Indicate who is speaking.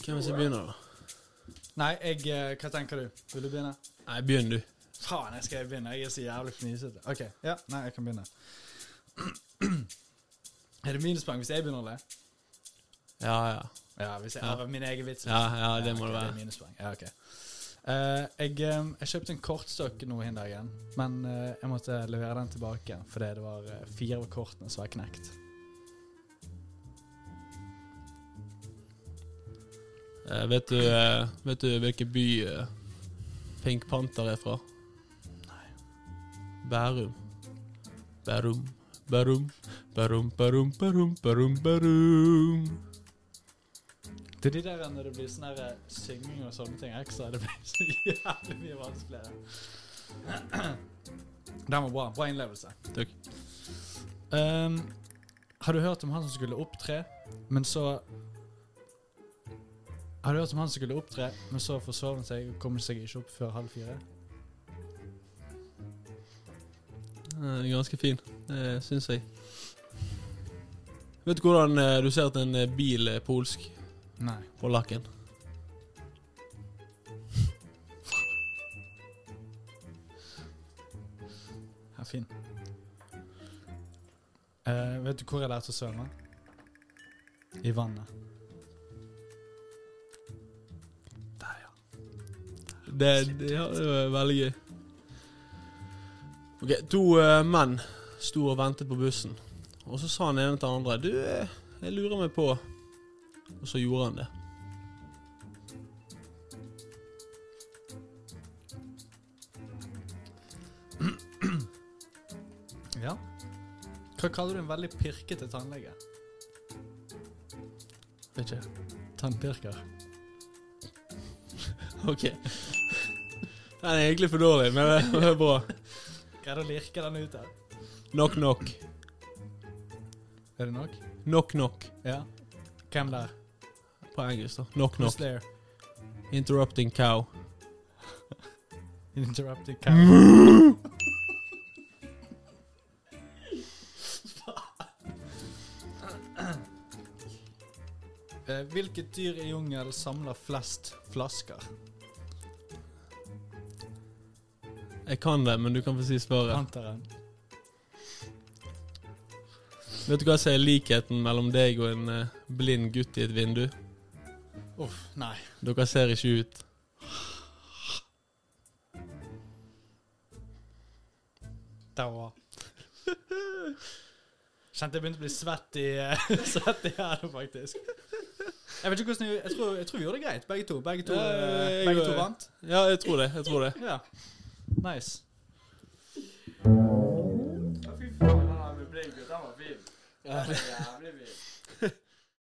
Speaker 1: Hvem er det som begynner, da?
Speaker 2: Nei, jeg eh, Hva tenker du? Vil du begynne?
Speaker 1: Nei, begynn du.
Speaker 2: Faen, jeg skal begynne. Jeg er så jævlig fnisete. OK. Ja, nei, jeg kan begynne. Er det minuspoeng hvis jeg begynner å le?
Speaker 1: Ja, ja.
Speaker 2: Ja, hvis jeg
Speaker 1: Ja.
Speaker 2: arver min egen vits.
Speaker 1: Ja, ja, det må
Speaker 2: ok,
Speaker 1: det være.
Speaker 2: er minuspoeng. Ja, ok. Eh, jeg, eh, jeg kjøpte en kortstokk nå hin dagen, men eh, jeg måtte levere den tilbake fordi det var eh, fire av kortene som var knekt.
Speaker 1: Eh, vet, du, eh, vet du hvilken by eh, Pink Panther er fra? Nei. Bærum. Bærum. Bærum. Bærum, bærum, bærum, bærum, bærum.
Speaker 2: Det er de der når det blir sånn her eh, synging og sånne ting ekstra. Det blir så jævlig mye vanskeligere. Den var bra. Bra innlevelse.
Speaker 1: Takk.
Speaker 2: Ehm, har du hørt om han som skulle opptre, men så Har du hørt om han som skulle opptre, men så forsov han seg og kom seg ikke opp før halv fire?
Speaker 1: Eh, ganske fin, det syns jeg. Vet du hvordan eh, du ser at en eh, bil er polsk
Speaker 2: Nei.
Speaker 1: på lakken?
Speaker 2: Ja, fin. Eh, vet du hvor jeg lærte å svømme? I vannet.
Speaker 1: Det, det, ja, det var veldig gøy. Ok, To eh, menn sto og ventet på bussen. Og så sa han ene til den andre Du, eh, jeg lurer meg på Og så gjorde han det.
Speaker 2: Ja. Hva kaller du en veldig pirkete tannlege?
Speaker 1: Vet ikke.
Speaker 2: Tannpirker.
Speaker 1: Ok. Den er egentlig for dårlig, men det er bra.
Speaker 2: Greide å lirke den ut der.
Speaker 1: Knock, knock.
Speaker 2: Er det nok?
Speaker 1: Knock, knock.
Speaker 2: Ja. Hvem der?
Speaker 1: På engelsk, da. Knock,
Speaker 2: Who's
Speaker 1: knock.
Speaker 2: there?
Speaker 1: Interrupting cow.
Speaker 2: Interrupted cow. Eh, Hvilket dyr i jungel samler flest flasker?
Speaker 1: Jeg kan det, men du kan få si svaret.
Speaker 2: Antar jeg.
Speaker 1: Vet du hva som er likheten mellom deg og en eh, blind gutt i et vindu?
Speaker 2: Uff, nei.
Speaker 1: Dere ser ikke ut.
Speaker 2: Det var Kjente jeg begynte å bli svett i, eh, svett i hjernen, faktisk. Jeg vet ikke hvordan Jeg, jeg, tror, jeg tror vi gjorde det greit, begge to. Begge to, eh,
Speaker 1: Ja, jeg-
Speaker 2: begge
Speaker 1: jeg-
Speaker 2: to vant.
Speaker 1: Ja, jeg tror det. jeg tror det.
Speaker 2: Ja. Nice.
Speaker 3: Ja, fy faen, den der med blink, den var fin. Den var jævlig fin.